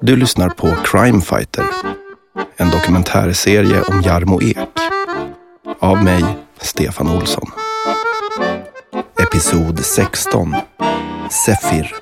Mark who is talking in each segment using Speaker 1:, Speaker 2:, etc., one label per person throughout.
Speaker 1: Du lyssnar på Crime Fighter. En dokumentärserie om Jarmo Ek. Av mig, Stefan Olsson. Episod 16. Sefir.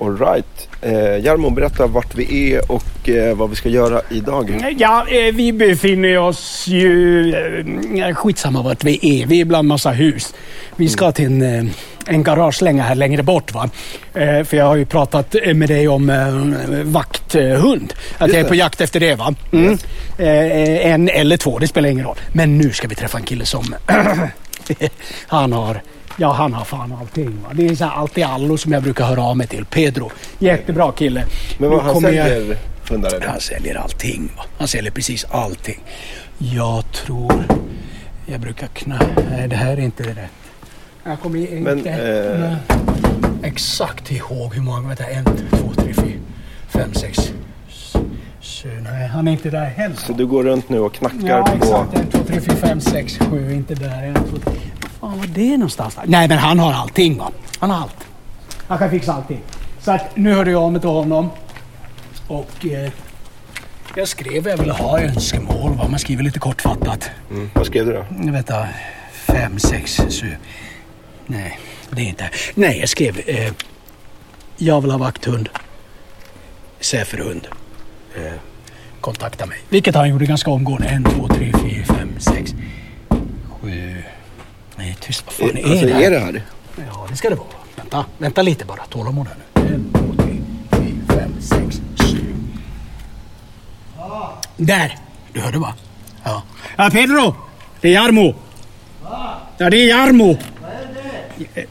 Speaker 1: Alright. Eh, Jarmo, berätta vart vi är och eh, vad vi ska göra idag.
Speaker 2: Ja, eh, vi befinner oss ju... eh, Skitsamma vart vi är. Vi är bland massa hus. Vi
Speaker 1: Mm.
Speaker 2: ska till en, eh, en garagelänga här längre bort. Va? Eh, För jag har ju pratat eh, med dig om eh, vakthund. Att jag är
Speaker 1: det.
Speaker 2: på jakt efter det. va? Mm. Eh, En eller två, det spelar ingen roll. Men nu ska vi träffa en kille som... han har... Ja, han har fan allting. Va? Det är så här allt i allo som jag brukar höra av mig till. Pedro. Jättebra kille.
Speaker 1: Men vad
Speaker 2: Nu
Speaker 1: han
Speaker 2: kommer jag-
Speaker 1: säljer hundar?
Speaker 2: han säljer allting. Va? Han säljer precis allting. Jag tror... Jag brukar knä... Nej, det här är inte rätt. Jag kommer inte Mm.
Speaker 1: Men, eh,
Speaker 2: exakt ihåg hur många... Vänta, en, två, tre, fyra, fem, sex. s- sju. Nej, han är inte där heller.
Speaker 1: Så du går runt nu och knackar
Speaker 2: Ja,
Speaker 1: på...
Speaker 2: exakt. En, två, tre, fyra, fem, sex, sju. Inte där. En, två, tre. Fan, var det någonstans? där? Nej, men han har allting. Va? Han har allt. Han kan fixa allting. Så att nu hörde jag av mig till honom. Och eh, jag skrev vad jag ville ha i önskemål. Va? Man skriver lite kortfattat.
Speaker 1: Mm. Vad skrev du då?
Speaker 2: Vänta. Fem, sex, sju. Nej, det är inte. Nej, jag skrev. Eh, jag vill ha vakthund. Säferhund. Eh, kontakta mig. Vilket han gjorde ganska omgående. En, två, tre, fyra, fem, sex, sju. Nej, tyst. Vad fan är
Speaker 1: Alltså,
Speaker 2: det? här?
Speaker 1: är det här?
Speaker 2: Ja, det ska det vara. Vänta, vänta lite bara. Tålamod här nu. En, två, tre, fyra, fem, sex, sju. Där! Du hörde va? Ja. Ja, Pedro! Det är Jarmo. Ja, det är Jarmo. Vad är det?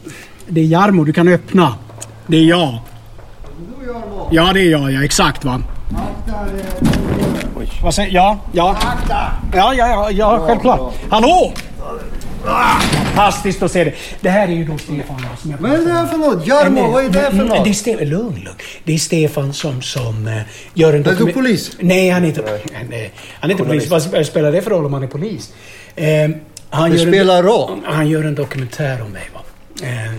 Speaker 2: Det är Jarmo. Du kan öppna. Det är jag. Ja, det är jag. Ja, exakt va. Oj. Vad säger Ja, ja. Ja, ja, ja, ja självklart. Hallå! Fantastiskt att se dig. Det här är ju då Stefan då, som jag
Speaker 3: Vad är det här för något? Jarmo, vad är det här för
Speaker 2: Det är
Speaker 3: något?
Speaker 2: Stefan, lugn, lugn. Det är Stefan som, som eh, gör en
Speaker 3: Är du
Speaker 2: dokumen-
Speaker 3: polis?
Speaker 2: Nej, han är inte, han är, han är inte polis. Vad sp- spelar det för roll om han är polis? Eh, han
Speaker 3: Det
Speaker 2: gör en-
Speaker 3: spelar roll.
Speaker 2: Han gör en dokumentär om mig. Va? Eh, eh,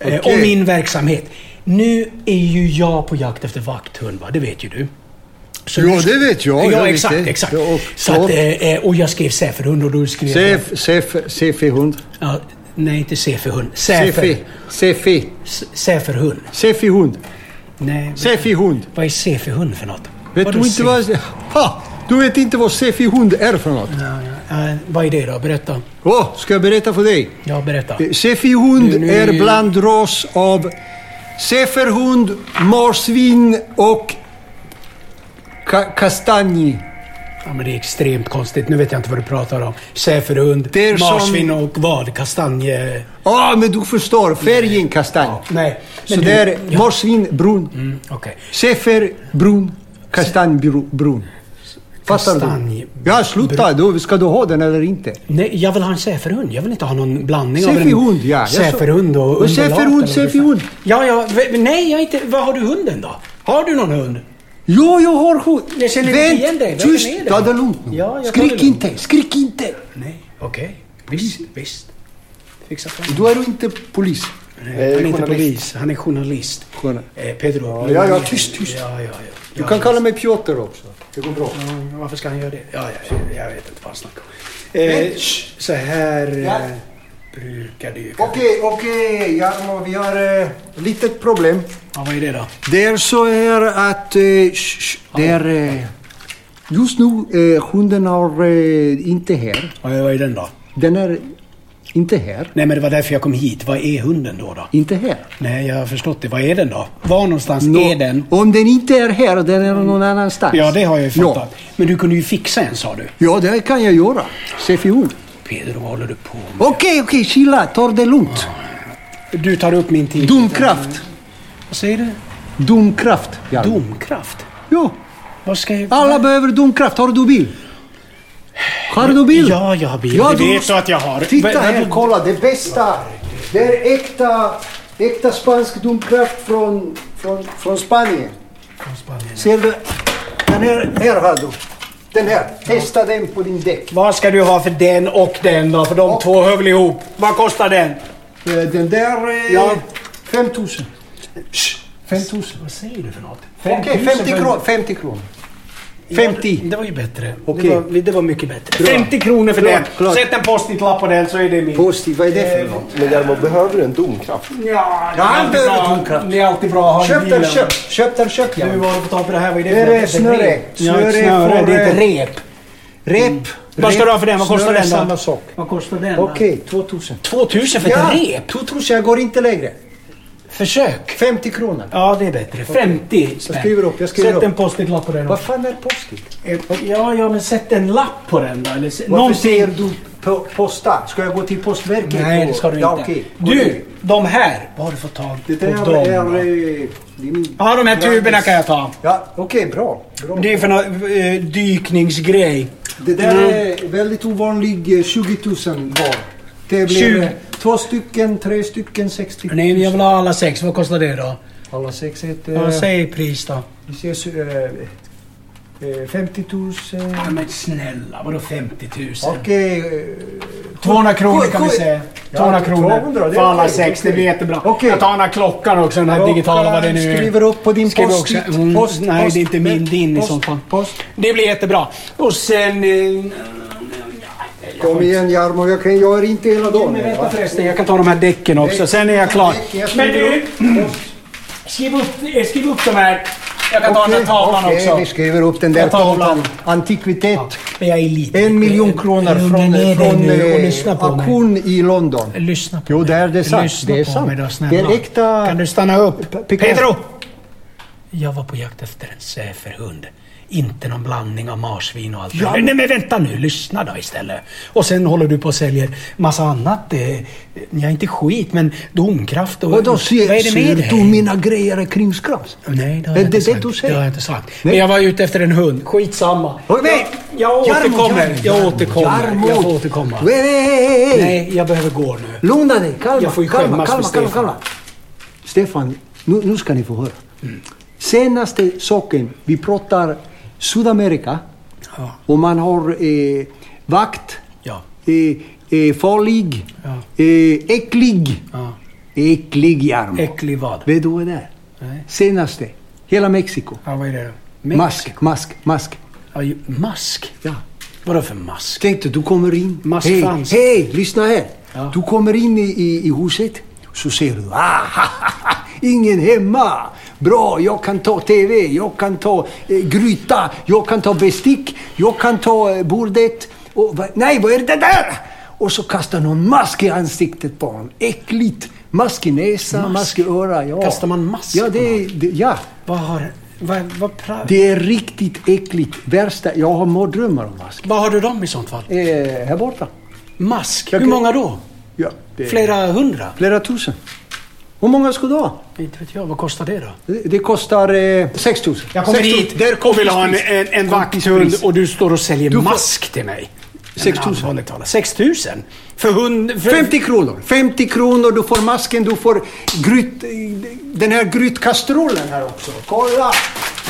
Speaker 3: Okej.
Speaker 2: Om min verksamhet. Nu är ju jag på jakt efter vakthund, va? det vet ju du. Så
Speaker 3: Ja, det vet jag.
Speaker 2: Ja,
Speaker 3: Jag vet
Speaker 2: exakt.
Speaker 3: det.
Speaker 2: exakt.
Speaker 3: Ja, och
Speaker 2: så att,
Speaker 3: klart.
Speaker 2: eh, eh, och jag skrev säferhund och du skrev...
Speaker 3: Sef, sef, sefi hund.
Speaker 2: Ja, nej, inte säferhund. Säfer.
Speaker 3: Sefi, sefi,
Speaker 2: S- Säferhund.
Speaker 3: sefi hund.
Speaker 2: Nej, men-
Speaker 3: Sefi hund.
Speaker 2: vad är säferhund för något?
Speaker 3: Vet
Speaker 2: Vadå
Speaker 3: du inte
Speaker 2: sef-
Speaker 3: vad... Ha! Du vet inte vad sefi hund är för något?
Speaker 2: Ja, ja. Eh, vad är det då? Berätta.
Speaker 3: Åh, ska jag berätta för dig?
Speaker 2: Ja, berätta.
Speaker 3: Sefi hund
Speaker 2: Nu- nu-
Speaker 3: är bland ras av seferhund, marsvin och ka- kastanj.
Speaker 2: Ja, men det är extremt konstigt. Nu vet jag inte vad du pratar om. Säferhund,
Speaker 3: Det är som-
Speaker 2: marsvin och vad? Kastanje...
Speaker 3: Ja, Ah, men du förstår. Färgen kastanj.
Speaker 2: Nej.
Speaker 3: Så
Speaker 2: men
Speaker 3: det
Speaker 2: du-
Speaker 3: är marsvin, brun.
Speaker 2: Mm, Okej.
Speaker 3: Sefer brun, kastanjbrun. Fattar
Speaker 2: Kastanj-
Speaker 3: du? Ja, sluta. Du, ska du ha den eller inte?
Speaker 2: Nej, jag vill ha en säferhund. Jag vill inte ha någon blandning av en...
Speaker 3: Säferhund, ja. Jag sa-
Speaker 2: Säferhund och...
Speaker 3: Och säferhund,
Speaker 2: undulat eller vad det är.
Speaker 3: säferhund.
Speaker 2: Ja, ja. v- Nej, jag är inte... Vad har du hunden då? Har du någon hund?
Speaker 3: Jo, jag har hund.
Speaker 2: Jag känner inte
Speaker 3: Vänt,
Speaker 2: igen dig. Vem
Speaker 3: Tyst,
Speaker 2: är det?
Speaker 3: ta det lugnt nu.
Speaker 2: Ja, jag tar det
Speaker 3: skrik
Speaker 2: lugnt.
Speaker 3: inte, skrik inte.
Speaker 2: Nej. Okej. Visst, visst. Fixa fram.
Speaker 3: Du är inte polis.
Speaker 2: Nej, han är inte polis. Han är journalist.
Speaker 3: Journa-
Speaker 2: Eh, Pedro.
Speaker 3: ja,
Speaker 2: lugna
Speaker 3: ja,
Speaker 2: ner
Speaker 3: tyst,
Speaker 2: dig.
Speaker 3: tyst.
Speaker 2: Ja, ja, ja.
Speaker 3: Du
Speaker 2: Ja,
Speaker 3: kan
Speaker 2: ja.
Speaker 3: kalla mig Piotr också. Det går bra.
Speaker 2: Ja, Mm, Varför ska han göra det? Ja, ja, jag vet inte vad han snackar om. Eh, sh, så här
Speaker 3: Ja.
Speaker 2: eh, brukar det ju...
Speaker 3: Okej, okej. Jarmo, vi har ett litet problem.
Speaker 2: Ja, vad är det då?
Speaker 3: Det är så här att... Eh, sh, sh, det är, eh, just nu eh, hunden har eh, inte här.
Speaker 2: Ja, vad är den då?
Speaker 3: Den är inte här.
Speaker 2: Nej, men det var därför jag kom hit. Vad är hunden då? då?
Speaker 3: Inte här.
Speaker 2: Nej, jag har förstått det. Vad är den då? Var någonstans
Speaker 3: Nå-
Speaker 2: är den?
Speaker 3: Om den inte är här, den är någon annanstans.
Speaker 2: Ja, det har jag ju
Speaker 3: Ja,
Speaker 2: fattat. Men du kunde ju fixa en, sa du.
Speaker 3: ja det kan jag göra. Se fjol.
Speaker 2: Pedro, vad håller du på med?
Speaker 3: Okej, okej, chilla. Ta det lugnt.
Speaker 2: Du tar upp min tid.
Speaker 3: Domkraft.
Speaker 2: Vad säger du?
Speaker 3: Domkraft. Ja.
Speaker 2: Domkraft?
Speaker 3: Ja.
Speaker 2: Vad ska jag...
Speaker 3: Alla behöver domkraft. Har du bil? Har du bil?
Speaker 2: Ja, jag har bil. Det vet du att jag har.
Speaker 3: Titta
Speaker 2: Men-
Speaker 3: här,
Speaker 2: men-
Speaker 3: kolla. Det bästa. Det är äkta, äkta spansk domkraft från, från, från Spanien.
Speaker 2: Från Spanien.
Speaker 3: Ser du? Den här, här har du. Den här. Testa den på din däck.
Speaker 2: Vad ska du ha för den och den då? För de
Speaker 3: Och-
Speaker 2: två hör väl ihop? Vad kostar den?
Speaker 3: Eh, Den där... Eh,
Speaker 2: Ja.
Speaker 3: 5000. 5 tusen.
Speaker 2: Vad säger du för något?
Speaker 3: Okej, 50 kronor. 50 kronor. 50.
Speaker 2: Ja, det var ju bättre.
Speaker 3: Okej.
Speaker 2: Det, var, det var mycket bättre.
Speaker 3: Bra.
Speaker 2: 50 kronor för
Speaker 3: Klart,
Speaker 2: den.
Speaker 3: klart.
Speaker 2: Sätt en post-it-lapp på den så är det min.
Speaker 3: Positivt, vad är det
Speaker 2: Eh,
Speaker 3: för något?
Speaker 1: Men Jarmo, behöver du en domkraft?
Speaker 2: Ja, det är
Speaker 3: han
Speaker 2: alltid
Speaker 3: behöver
Speaker 2: bra.
Speaker 3: tomkraft.
Speaker 2: Det är alltid bra att ha i
Speaker 3: Köp den,
Speaker 2: bilen.
Speaker 3: köp! Köp den, köp
Speaker 2: Nu
Speaker 3: ja.
Speaker 2: var det på tal på det här. Vad är det
Speaker 3: Det är
Speaker 2: för
Speaker 3: det, snöre.
Speaker 2: Ja, ett
Speaker 3: Snöre
Speaker 2: snöre.
Speaker 3: får,
Speaker 2: Det är ett
Speaker 3: eh,
Speaker 2: rep.
Speaker 3: Rep.
Speaker 2: Mm. Vad ska
Speaker 3: rep,
Speaker 2: du ha för den? Vad kostar
Speaker 3: snöre,
Speaker 2: den då?
Speaker 3: samma sak.
Speaker 2: Vad kostar den?
Speaker 3: Okej, 2000.
Speaker 2: 2000 för
Speaker 3: Ja,
Speaker 2: ett rep?
Speaker 3: 2000. Jag går inte längre.
Speaker 2: Försök.
Speaker 3: 50 kronor.
Speaker 2: Ja, det är bättre. 50 spänn.
Speaker 3: Jag skriver upp, jag skriver
Speaker 2: Sätt
Speaker 3: upp.
Speaker 2: en post-it-lapp på den.
Speaker 3: Vad fan är post-it?
Speaker 2: Ja, ja, men sätt en lapp på den då. Eller, s-
Speaker 3: Varför
Speaker 2: någonting.
Speaker 3: säger du po- posta? Ska jag gå till Postverket?
Speaker 2: Nej, det
Speaker 3: och-
Speaker 2: ska du inte.
Speaker 3: Ja, okej.
Speaker 2: Du, de här. Vad har du fått tag
Speaker 3: Det
Speaker 2: på
Speaker 3: där
Speaker 2: dem?
Speaker 3: är...
Speaker 2: då?
Speaker 3: eh, din-
Speaker 2: Ja, de här tuberna kan jag ta.
Speaker 3: Ja, okej, bra. bra.
Speaker 2: Det är för någon eh, dykningsgrej.
Speaker 3: Det där
Speaker 2: Mm.
Speaker 3: är väldigt ovanlig, eh, 20 000 var. Det blir
Speaker 2: 20.
Speaker 3: eh, två stycken, tre stycken, 60 000.
Speaker 2: Nej, men jag vill ha alla sex. Vad kostar det då?
Speaker 3: Alla sex heter...
Speaker 2: Ja, säg pris då.
Speaker 3: Vi ses, eh, eh, 50 000.
Speaker 2: Ja, men snälla, vadå 50 000?
Speaker 3: Okej. eh,
Speaker 2: 200 kronor
Speaker 3: Sju-
Speaker 2: kan vi
Speaker 3: sju-
Speaker 2: säga.
Speaker 3: Ja,
Speaker 2: 200
Speaker 3: 200,
Speaker 2: kronor
Speaker 3: det
Speaker 2: för
Speaker 3: är
Speaker 2: alla
Speaker 3: okej,
Speaker 2: sex. Det blir
Speaker 3: okej.
Speaker 2: jättebra.
Speaker 3: Okej.
Speaker 2: Jag tar den här klockan också, den här digitala, vad det nu är.
Speaker 3: Skriver upp på din
Speaker 2: Skriver
Speaker 3: post
Speaker 2: också- mm, nej, det är inte min, din i sånt fall.
Speaker 3: Post.
Speaker 2: Det blir jättebra. Och sen... eh,
Speaker 3: Kom igen Jarmo, jag, kan, jag är inte hela dagen
Speaker 2: Men
Speaker 3: här,
Speaker 2: vänta
Speaker 3: va?
Speaker 2: förresten, jag kan ta de här däcken också. Sen är jag klar.
Speaker 3: Jag
Speaker 2: Men du,
Speaker 3: skriver upp.
Speaker 2: skriv upp, eh, skriv upp de här. Jag kan ta den här tavlan
Speaker 3: Okej,
Speaker 2: också.
Speaker 3: vi skriver upp den där
Speaker 2: Jag tar
Speaker 3: tavlan.
Speaker 2: tavlan.
Speaker 3: Antikvitet.
Speaker 2: Men jag är lite...
Speaker 3: En miljon kronor
Speaker 2: Lugna
Speaker 3: från,
Speaker 2: ner dig
Speaker 3: från
Speaker 2: nu och
Speaker 3: eh,
Speaker 2: lyssna på mig.
Speaker 3: auktion i London.
Speaker 2: Lyssna på
Speaker 3: Jo,
Speaker 2: mig.
Speaker 3: det är det sant.
Speaker 2: Lyssna
Speaker 3: Det är
Speaker 2: på
Speaker 3: sant.
Speaker 2: mig då, snälla.
Speaker 3: Det är äkta-
Speaker 2: Kan du stanna upp?
Speaker 3: Pick-
Speaker 2: Pedro! Jag var på jakt efter en säferhund. Inte någon blandning av marsvin och allt det där. Nej men vänta nu, lyssna då istället. Och sen håller du på och säljer massa annat. Eh, ja, inte skit, men domkraft och...
Speaker 3: Vadå,
Speaker 2: Vad är
Speaker 3: ser,
Speaker 2: det med
Speaker 3: ser du
Speaker 2: dig?
Speaker 3: mina grejer är krimskrams?
Speaker 2: Nej, det har
Speaker 3: Är
Speaker 2: jag inte
Speaker 3: det
Speaker 2: sagt.
Speaker 3: det du
Speaker 2: Det
Speaker 3: säger?
Speaker 2: har jag inte sagt.
Speaker 3: Nej.
Speaker 2: Men jag var ute efter en hund. Skitsamma.
Speaker 3: Oj, nej!
Speaker 2: Jag, jag
Speaker 3: Jarmo,
Speaker 2: återkommer. jag
Speaker 3: Jarmo, Jarmo,
Speaker 2: återkommer.
Speaker 3: Jarmo.
Speaker 2: Jag får återkomma.
Speaker 3: Hej, hej, hej, hej.
Speaker 2: Nej, jag behöver gå nu.
Speaker 3: Lugna dig, kalma,
Speaker 2: Jag får ju
Speaker 3: kalma,
Speaker 2: skämmas
Speaker 3: kalma,
Speaker 2: för
Speaker 3: kalma,
Speaker 2: Stefan.
Speaker 3: kalma. Stefan, nu, nu ska ni få höra. Senaste saken, vi pratar Sydamerika
Speaker 2: Ja.
Speaker 3: och man har eh, vakt,
Speaker 2: Ja.
Speaker 3: eh, eh, farlig,
Speaker 2: Ja.
Speaker 3: eh, äcklig.
Speaker 2: ja.
Speaker 3: Äcklig Jarmo.
Speaker 2: Äcklig vad?
Speaker 3: Vet du vad det är?
Speaker 2: Nej.
Speaker 3: Senaste, hela Mexiko.
Speaker 2: Ja, vad är det då?
Speaker 3: Mask, mask, mask.
Speaker 2: Ja, ju, mask?
Speaker 3: Ja.
Speaker 2: Vadå för mask?
Speaker 3: Tänk dig, du kommer in.
Speaker 2: Massa
Speaker 3: hej,
Speaker 2: fans.
Speaker 3: hej, lyssna här.
Speaker 2: Ja.
Speaker 3: Du kommer in i, i, i huset, så ser du. Ah, ha, ha, ha, ingen hemma. Bra, jag kan ta TV, jag kan ta eh, gryta, jag kan ta bestick, jag kan ta eh, bordet. Och, va, nej, vad är det där? Och så kastar någon mask i ansiktet på honom. Äckligt. Mask i näsa, mask, i öra. Ja.
Speaker 2: Kastar man mask
Speaker 3: Ja,
Speaker 2: på
Speaker 3: det, det, ja.
Speaker 2: Vad har... Vad, vad, pra-
Speaker 3: det är riktigt äckligt. Värsta. Jag har mardrömmar om mask.
Speaker 2: vad har du dem i sånt fall?
Speaker 3: Eh, här borta.
Speaker 2: Mask?
Speaker 3: Jag
Speaker 2: Hur
Speaker 3: kan-
Speaker 2: många då?
Speaker 3: Ja, det-
Speaker 2: Flera hundra?
Speaker 3: Flera tusen. Hur många ska du ha?
Speaker 2: Inte vet jag. Vad kostar det då?
Speaker 3: Det det kostar eh, 6 000.
Speaker 2: Jag kommer
Speaker 3: 6 000.
Speaker 2: hit och vill ha en, en, en vakthund och du står och säljer mask till mig.
Speaker 3: 6 000.
Speaker 2: 6 000? För hund... För...
Speaker 3: 50 kronor. 50 kronor, du får masken, du får gryt, eh, den här grytkastrullen här också. Kolla!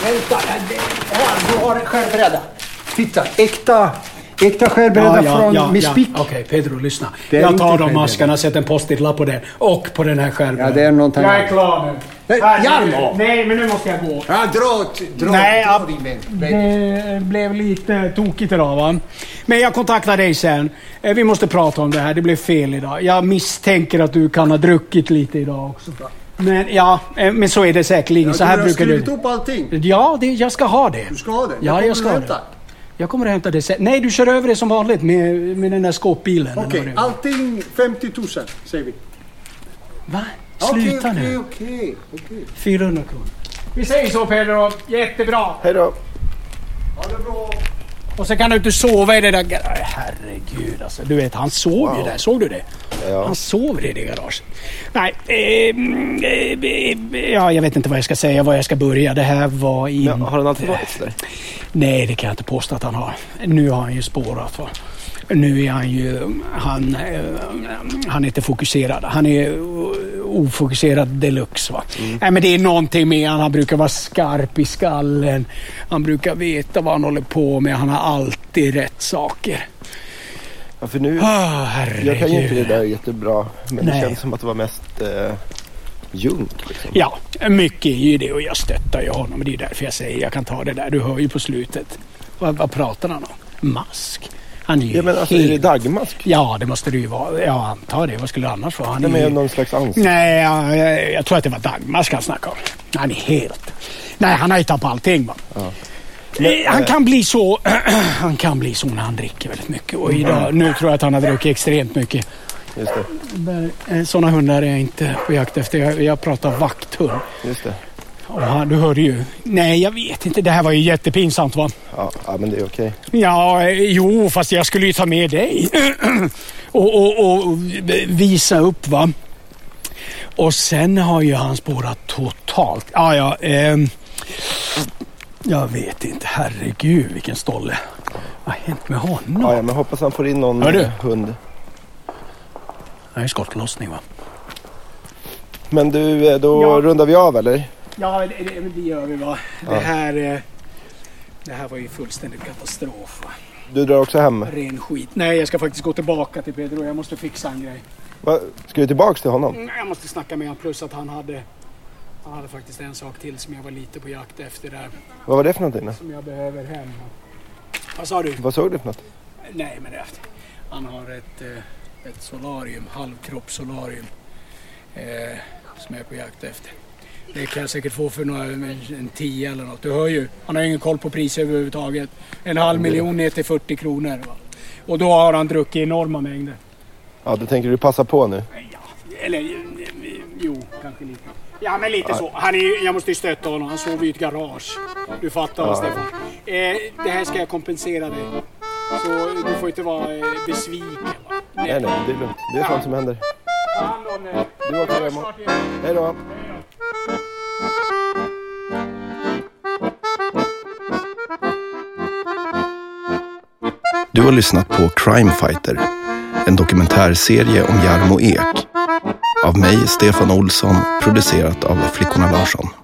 Speaker 3: Vänta, här, det- här, du har en skärbräda. Titta, äkta, äkta skärbräda från ja, Miss Pick.
Speaker 2: Okej, Pedro, lyssna.
Speaker 3: Det är
Speaker 2: Jag
Speaker 3: inte
Speaker 2: tar de
Speaker 3: Pedro.
Speaker 2: maskarna, sätter en post-it-lapp på den och på den här skärmen.
Speaker 3: Ja, det är någonting
Speaker 2: Jag är
Speaker 3: annat.
Speaker 2: klar nu.
Speaker 3: Nej,
Speaker 2: Här,
Speaker 3: Jarmo!
Speaker 2: Nej, men nu måste jag gå.
Speaker 3: Ja, dra åt... Dra,
Speaker 2: Nej,
Speaker 3: dra
Speaker 2: ja. Mm.
Speaker 3: din vän.
Speaker 2: Det blev lite tokigt idag va. Men jag kontaktar dig sen. Eh, Vi måste prata om det här. Det blev fel idag. Jag misstänker att du kan ha druckit lite idag också. Men ja, eh, men så är det säkerligen. så här brukar
Speaker 3: Du har
Speaker 2: du...
Speaker 3: skrivit upp allting.
Speaker 2: Ja, det, jag ska ha det.
Speaker 3: Du ska ha det.
Speaker 2: Ja,
Speaker 3: kommer
Speaker 2: jag ska ha
Speaker 3: hämta.
Speaker 2: det. Jag kommer att hämta det sen. Nej, du kör över det som vanligt med, med den där skåpbilen. eller
Speaker 3: Okej,
Speaker 2: vad det var.
Speaker 3: allting 50 000 säger vi.
Speaker 2: Va? Sluta
Speaker 3: okej,
Speaker 2: nu.
Speaker 3: Okej, okej, okej.
Speaker 2: 400 kronor. Vi säger så Pedro. Jättebra.
Speaker 1: Hej då.
Speaker 3: Ha det bra.
Speaker 2: Och så kan du inte sova i det där garaget. Herregud alltså. Du vet, han sov ju där. Såg du det? Han sov i det garaget. Nej, eh, mm, eh, eh, ja, jag vet inte vad jag ska säga, var jag ska börja. Det här var in...
Speaker 1: Men har den alltid varit sådär?
Speaker 2: Nej, det kan jag inte påstå att han har. Nu har han ju spårat. Va? Nu är han ju... Han, eh, han är inte fokuserad. Han är eh, ofokuserad deluxe. Va?
Speaker 1: Mm.
Speaker 2: Nej, men det är någonting med han. Han brukar vara skarp i skallen. Han brukar veta vad han håller på med. Han har alltid rätt saker.
Speaker 1: Ja, för nu...
Speaker 2: Ah,
Speaker 1: Jag kan ju inte det
Speaker 2: herregud.
Speaker 1: där jättebra, men
Speaker 2: Nej.
Speaker 1: det känns som att det var mest eh, junk. Liksom.
Speaker 2: Ja, mycket är ju det och jag stöttar ju honom. Det är ju därför jag säger jag kan ta det där. Du hör ju på slutet. Vad, vad pratar han om? Mask? Han är ju
Speaker 1: Ja, men alltså, är
Speaker 2: helt...
Speaker 1: det dagmask?
Speaker 2: Ja, det måste det ju vara. Jag antar det. Vad skulle det annars vara? Han
Speaker 1: Det
Speaker 2: är ju...
Speaker 1: med någon slags ansikte?
Speaker 2: Nej, jag, jag, jag tror att det var Dagmask han snackade om. Han är helt... Nej, han har hittat på allting. Va? Eh, han kan bli så Han kan bli så när han dricker väldigt mycket. Och idag, nu tror jag att han har druckit extremt mycket.
Speaker 1: Just det.
Speaker 2: Där, eh, Sådana hundar är jag inte på jakt efter. Jag, jag pratar vakthund.
Speaker 1: Just det.
Speaker 2: Och han, du hörde ju. Nej, jag vet inte. Det här var ju jättepinsamt va?
Speaker 1: Ja, ja, men det är okej.
Speaker 2: Ja, eh, jo, fast jag skulle ju ta med dig och, och, och visa upp va. Och sen har ju han spårat totalt. Ja, ja. ehm, jag vet inte. Herregud, vilken stolle. Vad har hänt med honom?
Speaker 1: Ja, ja, men hoppas han får in någon
Speaker 2: Hör du?
Speaker 1: eh, hund.
Speaker 2: Det är skottlossning va?
Speaker 1: Men du, eh, då
Speaker 2: Ja.
Speaker 1: rundar vi av eller?
Speaker 2: Ja, det, det, det gör vi va. Det, här, eh, det här var ju fullständigt katastrof. Va?
Speaker 1: Du drar också hem.
Speaker 2: Ren skit. Nej, jag ska faktiskt gå tillbaka till Pedro. Jag måste fixa en grej.
Speaker 1: Va? Ska vi tillbaks till honom?
Speaker 2: Mm, Jag måste snacka med honom. Plus att han hade, han hade faktiskt en sak till som jag var lite på jakt efter där.
Speaker 1: Vad var det för någonting då?
Speaker 2: Som jag behöver hem. Vad sa du?
Speaker 1: Vad såg du för något?
Speaker 2: Nej, men det Han har ett, eh, ett solarium, halvkroppssolarium. Eh, som jag är på jakt efter. Det kan jag säkert få för några, en, en tio eller något. Du hör ju, han har ingen koll på priser överhuvudtaget. En halv miljon ner till 40 kronor. Va? Och då har han druckit enorma mängder.
Speaker 1: Ja, du tänker du passa på nu?
Speaker 2: Ja, eller eh, jo, kanske lite. Ja, men lite så. Han är, ju- jag måste ju stötta honom. Han sover ju i ett garage. Du fattar,
Speaker 1: Ja.
Speaker 2: Stefan. Eh, det här ska jag kompensera dig. Så du får inte vara eh, besviken. Va?
Speaker 1: Nej, nej, det är lugnt. Det är sånt som händer.
Speaker 2: Ta hand om dig.
Speaker 1: Du åker hem.
Speaker 2: Snart igen.
Speaker 1: Hej då! Du har lyssnat på Crime Fighter, en dokumentärserie om Jarmo Ek. Av mig, Stefan Olsson, producerat av Flickorna Larsson.